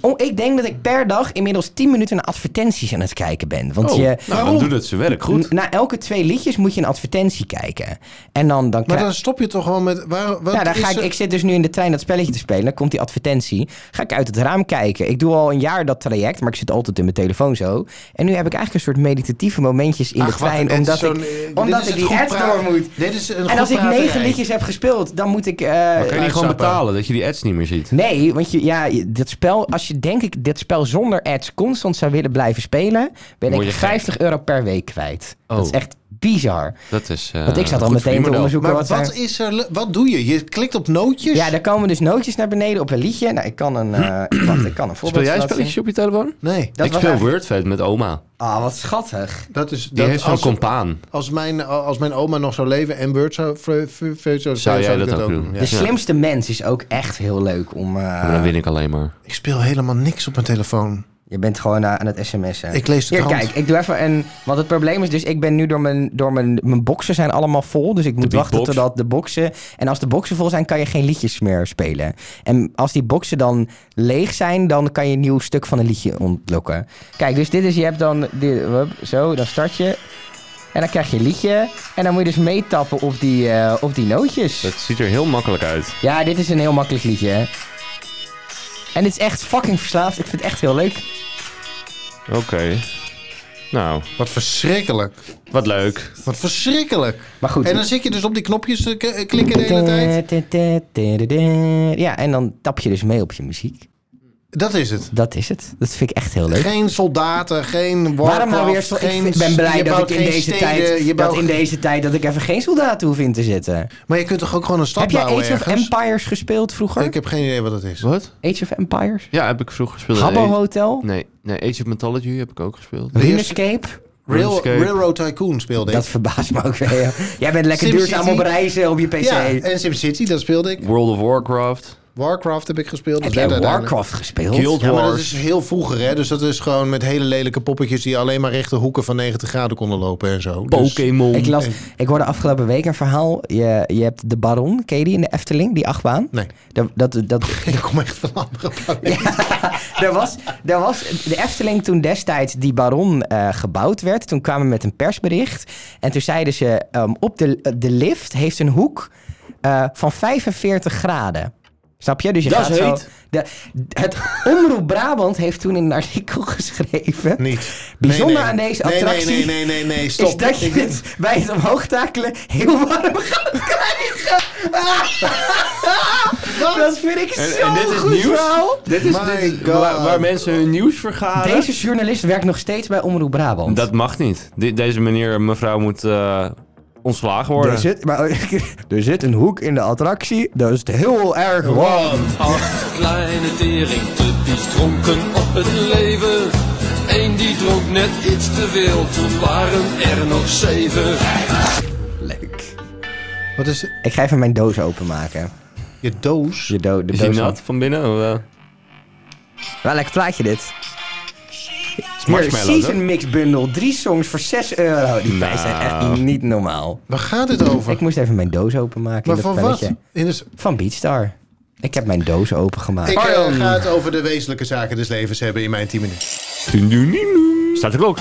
oh, ik denk dat ik per dag inmiddels 10 minuten naar advertenties aan het kijken ben. Want Oh, je, nou, dan doet het zijn werk goed. N- Na elke twee liedjes moet je een advertentie kijken. En dan, dan Maar krijg- dan stop je toch gewoon met... Waar, wat ja, dan is ga ik, er- ik zit dus nu in de trein dat spelletje te spelen. Dan komt die advertentie. Ga ik uit het raam kijken. Ik doe al een jaar dat traject, maar ik zit altijd in mijn telefoon zo. En nu heb ik eigenlijk een soort meditatieve momentjes in de Ach, wat trein. een- omdat zo'n, ik, eh, dit omdat is ik het die goed ads door praten. moet. Dit is een En goed als ik praterij. negen liedjes heb gespeeld, dan moet ik... eh, Kan je niet gewoon uitstappen. betalen dat je die ads niet meer ziet? Nee, want je, ja, je- dit spel, als je denk ik dit spel zonder ads constant zou willen blijven spelen, ben Word ik je gek. 50 euro per week kwijt. Dat is Oh. echt bizar. Dat is. eh, Want ik zat al goed meteen te verdienmodel. onderzoeken Maar wat, wat, zijn- is er, le- wat doe je? Je klikt op nootjes? Ja, daar komen dus nootjes naar beneden op een liedje. Nou, ik kan een, eh wacht, ik kan een voorbeeld Speel jij laten spelletjes op je telefoon? Nee. Dat ik was speel eigenlijk- Wordfed met oma. zien. Ah, wat schattig. Dat is, Die dat- heeft zo'n als, compaan. Ah. als, mijn, als mijn oma nog zou leven en Bird zou, v- v- v- zou, Zou jij ik dat ook doen? Ja. De Ja. slimste mens is ook echt heel leuk om... eh, Maar dan win ik alleen maar. Ik speel helemaal niks op mijn telefoon. Je bent gewoon eh, aan het sms'en. Ik lees de Hier, krant. kijk, ik doe even een... Want het probleem is dus, ik ben nu door mijn... Door mijn, mijn boxen zijn allemaal vol, dus ik moet wachten beatbox. totdat de boxen... En als de boxen vol zijn, kan je geen liedjes meer spelen. En als die boxen dan leeg zijn, dan kan je een nieuw stuk van een liedje ontlokken. Kijk, dus dit is... Je hebt dan... Dit, hup, zo, dan start je. En dan krijg je een liedje. En dan moet je dus meetappen op die, eh, op die nootjes. Dat ziet er heel makkelijk uit. Ja, dit is een heel makkelijk liedje, hè. En dit is echt fucking verslaafd. Ik vind het echt heel leuk. Oké. Nou, Wat verschrikkelijk. wat leuk. Wat verschrikkelijk. Maar goed. En dan zit je dus op die knopjes te k- klikken de hele tijd. Ja, en dan tap je dus mee op je muziek. Dat is het. Dat is het. Dat vind ik echt heel leuk. Geen soldaten, geen Warcraft, Waarom nou weer zo? Ik geen, vind- ben blij je dat ik bouwt in geen deze steden, je tijd dat bouwt- in deze tijd dat ik even geen soldaten hoef in te zetten. Maar je kunt toch ook gewoon een stad Heb jij bouwen Age of ergens? Empires gespeeld vroeger? Ik heb geen idee wat dat is. Wat? Age of Empires? Ja, heb ik vroeger gespeeld. Habbo Nee, Hotel? Nee, nee, Age of Mythology heb ik ook gespeeld. RuneScape? Rail, RuneScape. Railroad Tycoon speelde ik. Dat verbaast me ook weer. Jij bent lekker Sim duurzaam City. op reizen op je pc. ja, en SimCity, dat speelde ik. World of Warcraft. Warcraft heb ik gespeeld. Heb dus jij werd uiteindelijk- Warcraft gespeeld? Guild Ja, maar dat Wars. is heel vroeger, hè? Dus dat is gewoon met hele lelijke poppetjes die alleen maar rechte hoeken van 90 graden konden lopen en zo. Dus- Pokémon. Ik, las, ik hoorde afgelopen week een verhaal. Je, je hebt de Baron, ken je die in de Efteling, die achtbaan? Nee, Dat, dat, dat, ik kom echt van een andere planeet. er was, er was de Efteling toen destijds die baron eh, gebouwd werd. Toen kwamen we met een persbericht. En toen zeiden ze, ehm, op de, de lift heeft een hoek eh, van 45 graden. Snap je? Dus je Dat gaat is zo... heet. De, het Omroep Brabant heeft toen in een artikel geschreven... Niet. Bijzonder Nee, nee. aan deze Nee, nee, attractie Nee, nee, nee, nee, stop. is dat je Ik ben- het bij het omhoog takelen heel warm gaat krijgen. dat vind ik En- zo en dit is goed nieuws? verhaal. Dit is My dit is God. waar, waar mensen hun nieuws vergaren. Deze journalist werkt nog steeds bij Omroep Brabant. Dat mag niet. De- deze meneer, mevrouw moet eh, ontslagen worden. er, zit, maar, er zit een hoek in de attractie, dat is heel erg warm. Acht kleine teringtuppies dronken op het leven. Eén die dronk net iets te veel, toen waren er nog zeven. Leuk. Wat is Ik ga even mijn doos openmaken. je doos? Je do de Is hij doos nat van binnen? Of, eh? Wel lekker plaatje dit. Hier, marshmallows, season hè? mix bundle, drie songs voor 6 euro. Die prijzen zijn echt Nou. niet normaal. Waar gaat het over? Ik moest even mijn doos openmaken. maar in dat van wat? spelletje. In de s- Van Beatstar. Ik heb mijn doos opengemaakt. Ik eh, Arjan. ga het over de wezenlijke zaken des levens hebben in mijn 10 minuten. Staat de klok.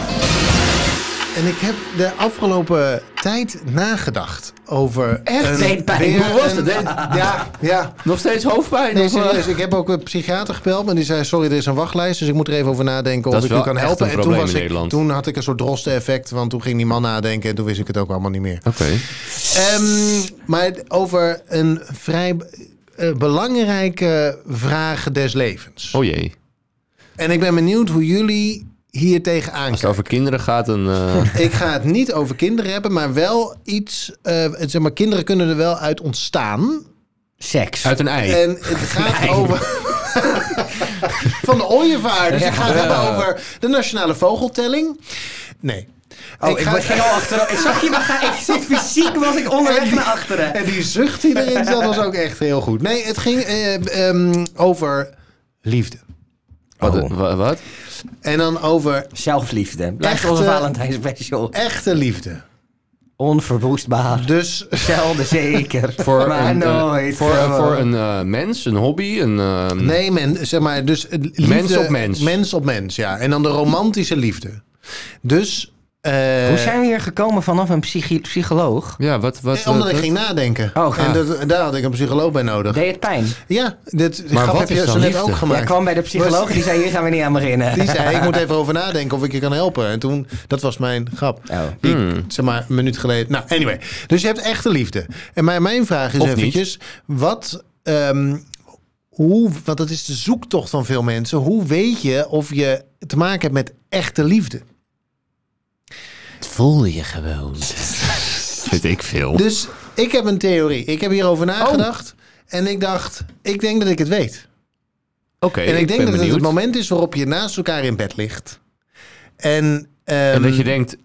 En ik heb de afgelopen tijd nagedacht over... Echt? een- Zeepijn. weer Hoe was een- het, hè? Ja, ja. Nog steeds hoofdpijn? Nee, of, eh? serieus. Ik heb ook een psychiater gebeld. En die zei, sorry, er is een wachtlijst. Dus ik moet er even over nadenken Dat of is ik u wel kan echt helpen. een En toen, probleem was in ik, Nederland. toen had ik een soort droste effect. Want toen ging die man nadenken. En toen wist ik het ook allemaal niet meer. Oké. Ehm, maar over een vrij eh, belangrijke vraag des levens. Oh jee. En ik ben benieuwd hoe jullie hier tegenaan Als het over kinderen gaat, dan... eh, Ik ga het niet over kinderen hebben, maar wel iets. eh, het- zeg maar, kinderen kunnen er wel uit ontstaan. Seks. uit een ei. En het gaat over. van de ooievaar. Dus ik ga het hebben over de nationale vogeltelling. Nee. Oh, ik, ga- was- ging al achterover. Ik zag je, maar ga, ik zat fysiek was ik onderweg naar achteren. En die zucht die erin zat was ook echt heel goed. Nee, het ging eh, ehm, over liefde. wat, Oh. wa- wat? En dan over Zelfliefde. Blijft Echte- onze Valentijns special. echte liefde. Onverwoestbaar. Dus Zelden zeker. Voor maar een, eh, nooit. voor, gewoon. voor een eh, mens, een hobby, een... eh, Nee, men, zeg maar, dus eh, liefde, Mens op mens. Mens op mens, ja. En dan de romantische liefde. Dus. eh, Hoe zijn we hier gekomen vanaf een psychi- psycholoog? Ja, wat... wat eh, omdat wat- ik ging nadenken. Oh, gaaf. en dat, daar had ik een psycholoog bij nodig. Deed het pijn? ja, dit Maar grap wat heb is je dan zo net liefde? ook Jij gemaakt. kwam bij de psycholoog en die zei, hier gaan we niet aan beginnen. Die zei, ik moet even over nadenken of ik je kan helpen. En toen, dat was mijn grap. Oh. Die, ik, Hmm. zeg maar, een minuut geleden. Nou, anyway. Dus je hebt echte liefde. En mijn, mijn vraag is Of niet. eventjes, wat... ehm, hoe, want dat is de zoektocht van veel mensen. Hoe weet je of je te maken hebt met echte liefde? voel je gewoon. Vind ik veel. Dus ik heb een theorie. Ik heb hierover nagedacht. Oh. En ik dacht, ik denk dat ik het weet. Oké, en ik denk ben dat het benieuwd. het moment is waarop je naast elkaar in bed ligt. En, ehm, En dat je denkt,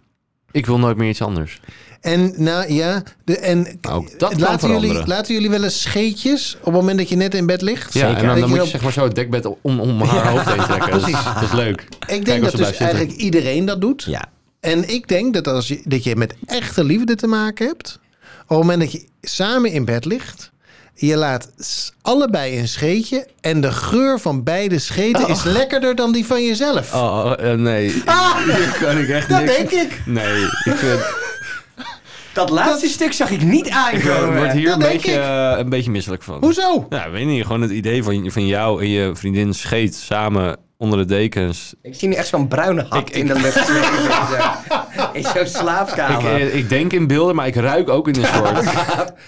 ik wil nooit meer iets anders. En nou ja, de, en Nou, dat kan laten, jullie, veranderen. laten jullie wel eens scheetjes op het moment dat je net in bed ligt? Ja, en Dat dan, dan moet je op- zeg maar zo het dekbed om, om haar hoofd heen trekken. Dat is, dat is leuk. ik denk dat dus eigenlijk iedereen dat doet. Ja. En ik denk dat als je, dat je met echte liefde te maken hebt, op het moment dat je samen in bed ligt, je laat s- allebei een scheetje en de geur van beide scheten is lekkerder dan die van jezelf. Oh, eh, nee. Hier kan ik echt dat niks. denk ik. Nee, ik vind... Dat laatste stuk zag ik niet Ik word aankomen. hier een denk beetje, ik. eh, een beetje misselijk van. Hoezo? Ja, weet niet. Gewoon het idee van, van jou en je vriendin scheet samen onder de dekens. Ik zie nu echt zo'n bruine hak in de lucht zweven. en zo. In zo'n Ik, slaapkamer. eh, ik denk in beelden, maar ik ruik ook in een soort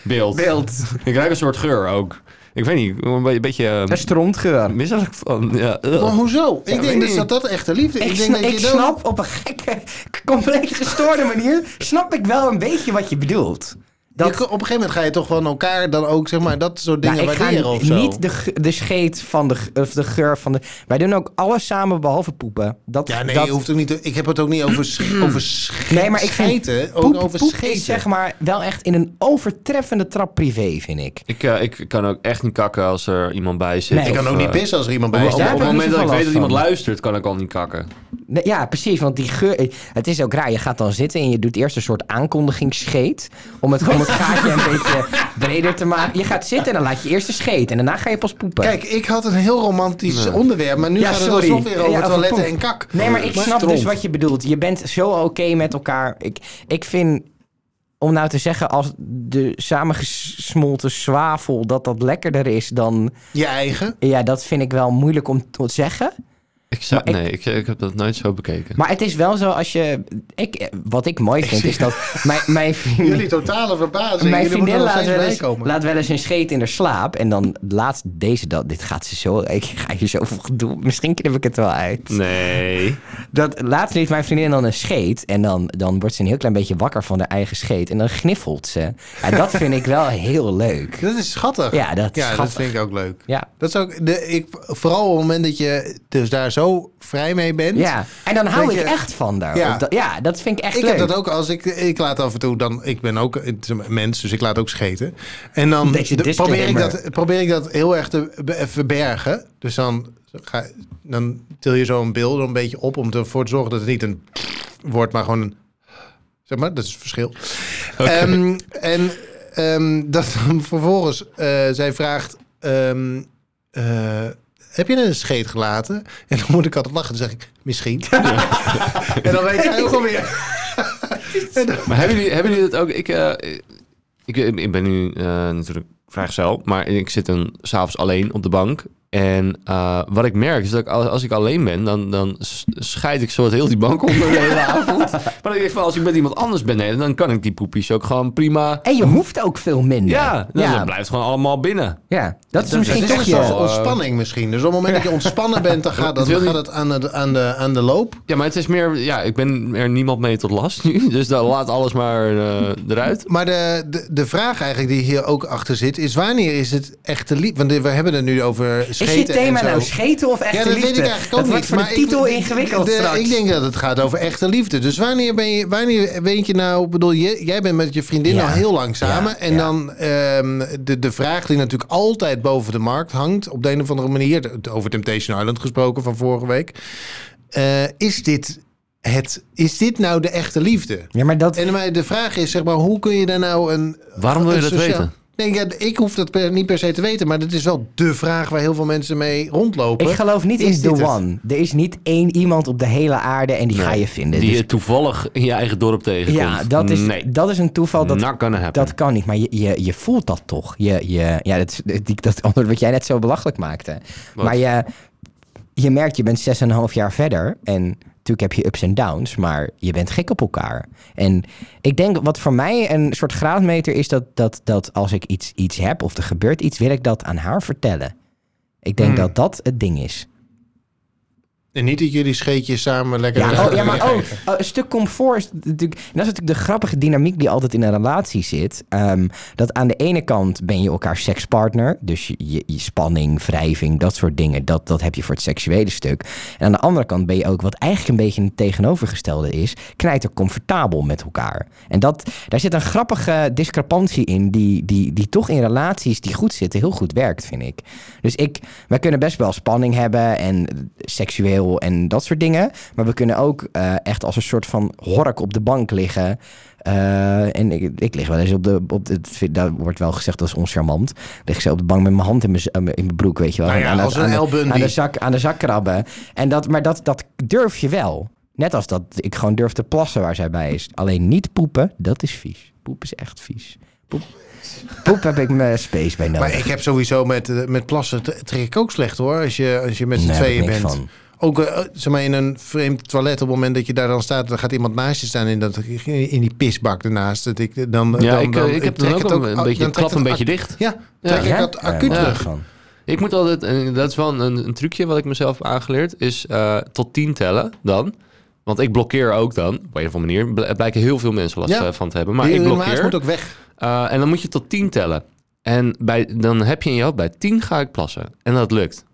beeld. Beeld. Ik ruik een soort geur ook. Ik weet niet, ik word een be- een beetje eh, Een strontgeur. misselijk van. Ja, ugh. Maar hoezo? Ik weet denk dus ik. dat dat echte liefde is. Ik, Ik sna- denk dat ik je dan- snap op een gekke, compleet gestoorde manier, snap ik wel een beetje wat je bedoelt. dat- Je- op een gegeven moment ga je toch van elkaar dan ook, zeg maar, dat soort dingen Nou, ik waarderen ga of zo. niet de, ge- de scheet van de, ge- of de geur van de... Wij doen ook alles samen behalve poepen. Dat, Ja, nee, dat, je hoeft ook niet. te- ik heb het ook niet over, sch- over sch- Nee, maar ik vind scheten. Ook poep, over poep scheten. is zeg maar wel echt in een overtreffende trap privé, vind ik. Ik, eh, ik kan ook echt niet kakken als er iemand bij zit. Nee. ik kan Of, ook niet eh, pissen als er iemand Op, bij op- daar heb op staat. ik het niet moment dat zoveel last ik weet dat iemand van. luistert, kan ik al niet kakken. Nee, ja, precies, want die geur... Het is ook raar, je gaat dan zitten en je doet eerst een soort aankondigingsscheet... om het, om het gaatje een beetje breder te maken. Je gaat zitten en dan laat je eerst de scheet en daarna ga je pas poepen. Kijk, ik had een heel romantisch onderwerp, maar nu Ja, gaat het sorry. alsnog weer over Ja, over toiletten poep. en kak. Nee, maar ik snap Stront. dus wat je bedoelt. Je bent zo oké met elkaar. Ik, ik vind, om nou te zeggen, als de samengesmolten zwavel... dat dat lekkerder is dan... Je eigen. Ja, dat vind ik wel moeilijk om te zeggen. Ik zou, Maar ik- nee, ik, ik heb dat nooit zo bekeken. Maar het is wel zo als je... Ik, eh, wat ik mooi vind is dat mijn, mijn vriendin... Jullie totale verbazing. Mijn Jullie vriendin moeten er laat nog steeds wel, bij eens, komen. laat wel eens een scheet in haar slaap. En dan laat deze dat. Dit gaat ze zo. Ik ga je zoveel gedoe. Misschien knip ik het wel uit. Nee. Dat, laatst liet mijn vriendin dan een scheet. En dan, dan wordt ze een heel klein beetje wakker van haar eigen scheet. En dan gniffelt ze. En dat vind ik wel heel leuk. Dat is schattig. Ja, dat is ja, dat schattig. vind ik ook leuk. Ja. Dat is ook de, ik, vooral op het moment dat je dus daar zo vrij mee bent. Ja, en dan hou Weet ik je- echt van daar. Ja. Ja. Dat, ja, dat vind ik echt Ik leuk. heb dat ook als ik, ik laat af en toe dan, ik ben ook het is een mens, dus ik laat ook scheten. En dan Deze de- probeer ik, disclaimer. dat, probeer ik dat heel erg te be- verbergen. Dus dan, ga, dan til je zo'n beeld een beetje op om ervoor te zorgen dat het niet een wordt, maar gewoon een, zeg maar, dat is het verschil. Ehm, en ehm, dat dan vervolgens eh, zij vraagt, ehm, eh, heb je een scheet gelaten? En dan moet ik altijd lachen. Dan zeg ik, misschien. en dan weet jij ook alweer. Maar hebben jullie, hebben jullie dat ook? Ik, eh, ik, ik ben nu eh, natuurlijk vrijgezel, maar ik zit dan s'avonds alleen op de bank. En eh, wat ik merk is dat ik, als, als ik alleen ben, dan, dan s- scheid ik zo het heel die bank onder de hele avond. Maar ik denk van, als ik met iemand anders ben, nee, dan kan ik die poepies ook gewoon prima. En je hoeft ook veel minder. Ja, dan, ja. dat blijft gewoon allemaal binnen. ja. dat is eh, Dat misschien is toch echt je... zoals ontspanning misschien. Dus op het moment dat je ontspannen bent, dan gaat, dat, wil dan niet- gaat het aan de, aan, de, aan de loop. Ja, maar het is meer, ja, ik ben er niemand mee tot last nu. Dus dan laat alles maar eh, eruit. Maar de, de, de vraag eigenlijk die hier ook achter zit, is wanneer is het echte liefde? Want we hebben het nu over Is scheten je thema en zo. nou scheten of echte ja, dat liefde? weet ik eigenlijk ook dat wordt niet. voor maar de titel ik, ingewikkeld de- straks. Ik denk dat het gaat over echte liefde. Dus wanneer ben je, wanneer weet je nou, ik bedoel, je- jij bent met je vriendin Ja. al heel lang samen. Ja, en ja. dan ehm, de, de vraag die natuurlijk altijd boven de markt hangt, op de een of andere manier, de- over Temptation Island gesproken van vorige week. eh, is dit het, is dit nou de echte liefde? Ja, maar dat... En maar de vraag is, zeg maar, hoe kun je daar nou een... Waarom wil je een dat dus, sociaal- weten? dus Nee, ja, ik hoef dat per- niet per se te weten, maar dat is wel de vraag waar heel veel mensen mee rondlopen. Ik geloof niet Is in dit The het? One. Er is niet één iemand op de hele aarde en die ga je vinden. Die Dus- je toevallig in je eigen dorp tegenkomt. ja, dat is, Nee, dat is een toeval. Dat, not gonna happen. Dat kan niet, maar je, je, je voelt dat toch. Je, je, ja, dat, is- die- dat antwoord wat jij net zo belachelijk maakte. Wat? Maar je, je merkt, je bent 6,5 jaar verder. En natuurlijk heb je ups en downs, maar je bent gek op elkaar. En ik denk, wat voor mij een soort graadmeter is... dat, dat, dat als ik iets, iets heb of er gebeurt iets... wil ik dat aan haar vertellen. Ik Hmm. denk dat dat het ding is. En niet dat jullie scheetjes samen lekker... Ja, oh, ja maar ook oh, een stuk comfort is natuurlijk... En dat is natuurlijk de grappige dynamiek die altijd in een relatie zit. Ehm, dat aan de ene kant ben je elkaar sekspartner. Dus je, je, je spanning, wrijving, dat soort dingen. Dat, dat heb je voor het seksuele stuk. En aan de andere kant ben je ook, wat eigenlijk een beetje het tegenovergestelde is... knijter comfortabel met elkaar. En dat, daar zit een grappige discrepantie in... Die, die, die toch in relaties die goed zitten heel goed werkt, vind ik. Dus ik, wij kunnen best wel spanning hebben en seksueel en dat soort dingen. Maar we kunnen ook eh, echt als een soort van hork op de bank liggen. Eh, en ik, ik lig wel eens op de... Op de het vind- dat wordt wel gezegd als oncharmant. Ik Lig ze op de bank met mijn hand in mijn, z- eh, in mijn broek, weet je wel. Nou ja, aan, het- als een aan de- El Bundy. aan de zak, aan de zak krabben. En dat, maar dat, dat durf je wel. Net als dat ik gewoon durf te plassen waar zij bij is. Alleen niet poepen, dat is vies. Poep is echt vies. Poep, poep heb ik mijn space bij nodig. Maar ik heb sowieso met, eh, met plassen, t- trek ik ook slecht hoor, als je, als je met z'n Nee, heb ik tweeën niks bent. van. Ook eh, zeg maar, in een vreemd toilet, op het moment dat je daar dan staat, dan gaat iemand naast je staan in, dat, in die pisbak ernaast. Dat ik, dan, Ja, dan, ik, eh, dan- ik heb trek dan ook het een, een beetje, dan het klap trekt een het beetje acu- dicht. Ja, trek Ja? ik dat Ja, acuut maar terug. van. Ik moet altijd, en dat is wel een, een trucje wat ik mezelf heb aangeleerd, is eh, tot 10 tellen dan. Want ik blokkeer ook dan, op een of andere manier, bl- blijken heel veel mensen last Ja. eh, van te hebben. Maar Die- ik die maas blokkeer. moet ook weg. Eh, en dan moet je tot 10 tellen. En bij, dan heb je in je hoofd, bij 10 ga ik plassen. En dat lukt.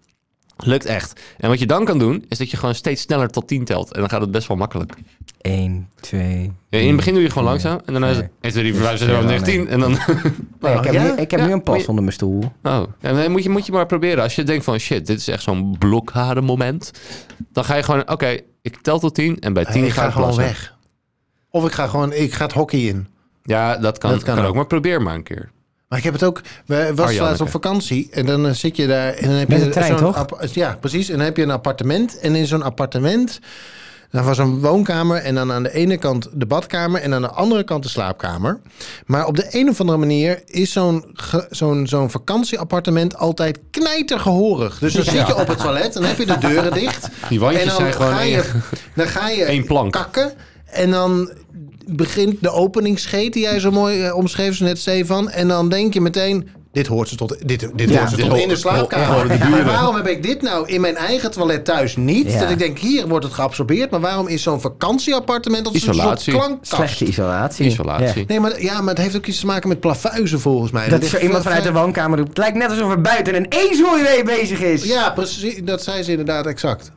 Lukt echt. En wat je dan kan doen, is dat je gewoon steeds sneller tot 10 telt. En dan gaat het best wel makkelijk. 1, 2. Ja, In het begin doe je gewoon langzaam. En daarna is het Nee. 1, 2, 3, 4, 5, 6, 7, 8, 9, 10. En dan... ik heb, Ja? nu, ik heb Ja, nu een moet plas je- onder mijn stoel. Oh, en dan moet je, moet je maar proberen. Als je denkt van shit, dit is echt zo'n blokkade moment. Dan ga je gewoon, oké, ik tel tot 10 en bij 10 Eh, ik ga, ga ik gewoon plassen. weg. Of ik ga gewoon, ik ga het hockey in. Ja, dat kan, Dat kan kan ook. ook. Maar probeer maar een keer. Maar ik heb het ook. We was Arjanneke. laatst op vakantie en dan eh, zit je daar en dan heb Met je de trein, zo'n toch? appa- Ja, precies. En dan heb je een appartement en in zo'n appartement daar was een woonkamer en dan aan de ene kant de badkamer en aan de andere kant de slaapkamer. Maar op de een of andere manier is zo'n ge- zo'n zo'n vakantieappartement altijd knijtergehoorig. Dus dan Ja. zit je op het toilet en dan heb je de deuren dicht. Die wandjes en dan zijn gewoon ga één- je, dan ga je één plank. kakken en dan begint de openingsscheet die jij zo mooi eh, omschreef zo net, Stefan. En dan denk je meteen, dit hoort ze tot, dit, dit hoort ze dit tot ho- in de ho- slaapkamer. horen de Maar waarom heb ik dit nou in mijn eigen toilet thuis niet? Ja. Dat ik denk, hier wordt het geabsorbeerd. Maar waarom is zo'n vakantieappartement als een soort Isolatie. klankkast? Slechte isolatie. Isolatie. Ja. Nee, maar, ja, maar het heeft ook iets te maken met plafuizen volgens mij. Dat ligt is er iemand wel vanuit de vrij- woonkamer roept. Het lijkt net alsof er buiten een ezelree bezig is. Ja, precies. Dat zei ze inderdaad exact.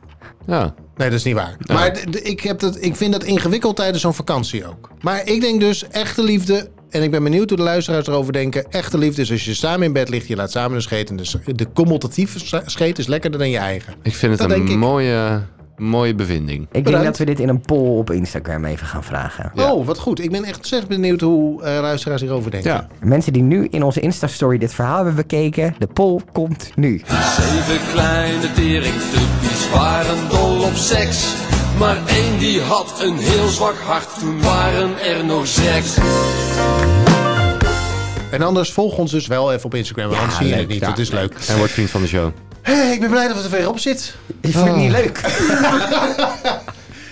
Ja. Nee, dat is niet waar. Oh. Maar d- d- ik, heb dat, ik vind dat ingewikkeld tijdens zo'n vakantie ook. Maar ik denk dus, echte liefde... En ik ben benieuwd hoe de luisteraars erover denken. Echte liefde is als je samen in bed ligt, je laat samen een scheet. En de, s- de cumulatieve s- scheet is lekkerder dan je eigen. Ik vind het Dat denk een ik. mooie, mooie bevinding. Ik denk Bedankt. dat we dit in een poll op Instagram even gaan vragen. Ja. Oh, wat goed. Ik ben echt zeer benieuwd hoe eh, luisteraars hierover denken. Ja. Mensen die nu in onze Insta-story dit verhaal hebben bekeken, de poll komt nu. Zeven kleine teringtuppies waren dol op seks. Maar één die had een heel zwak hart, toen waren er nog zes. En anders volg ons dus wel even op Instagram. Want anders zie je leuk. het niet. Ja, het is leuk. En wordt vriend van de show. Hé, ik ben blij dat het er weer op zit. Ik vind het niet leuk.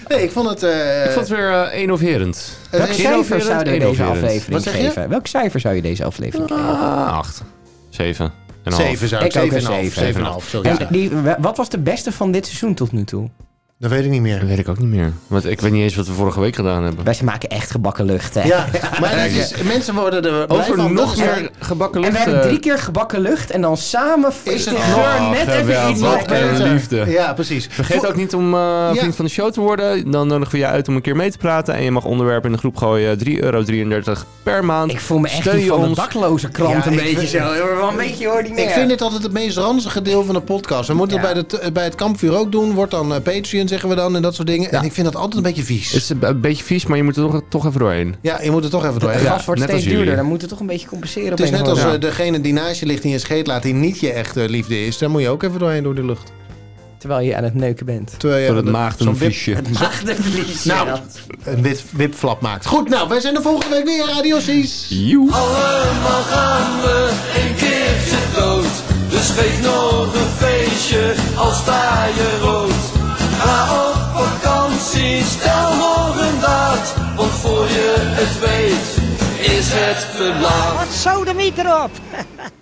Nee, ik vond het... eh, Ik vond het weer eh enoverend. Welk cijfer Innoverend, zou je deze innoverend. aflevering Wat zeg je? Oh, geven? Welk cijfer zou je deze aflevering geven? Ah, acht. Zeven. En een half. Zeven zou ik, Ik ook een 7,5. zeven. 7,5, sorry. En die, wat was de beste van dit seizoen tot nu toe? Dat weet ik niet meer. Dat weet ik ook niet meer. Want ik weet niet eens wat we vorige week gedaan hebben. Wij maken echt gebakken lucht, hè? Ja, maar dat is, mensen worden er blij Over van. nog Dat is- meer gebakken En lucht. we hebben eh, drie keer gebakken lucht en dan samen is de het- geur Oh, net even geweldig. iets Wat wat een beter. liefde. Ja, precies. Vergeet ook niet om eh, vriend van de show te worden. Dan nodigen we je uit om een keer mee te praten. En je mag onderwerpen in de groep gooien. 3,33 euro per maand. Ik voel me echt Steun die je van de ons. dakloze krant Ja, een ik beetje vind- zo. Wel een beetje ordinair. Ik vind dit altijd het meest ranzige deel van de podcast. We moeten Ja. het bij, de, t- bij het kampvuur ook doen. Wordt dan eh, Patreon, zeggen we dan, en dat soort dingen. En ik vind dat altijd een beetje vies. Het is een- een beetje vies, maar je moet er toch, toch even doorheen. ja, je moet het toch even doorheen. Het gas wordt net steeds als jullie. duurder, dan moeten we toch een beetje compenseren. Het is op een net of als andere eh, degene die naast je ligt in je scheet laat, die niet je echte liefde is. Daar moet je ook even doorheen door de lucht. manier. Terwijl je aan het neuken bent. Terwijl je Tot het de- maagd zo'n een wip- viesje. Maagdenverlies. Nou. ja. een wit, wipflap maakt. Goed, nou, wij zijn er volgende week weer, Radio Cies. Joe. Allemaal gaan we een keertje dood. Dus geef nog een feestje, al sta je rood. Ga op vakantie, stel nog een daad. Want voor je het weet, is het te laat. Wat zou de meter op?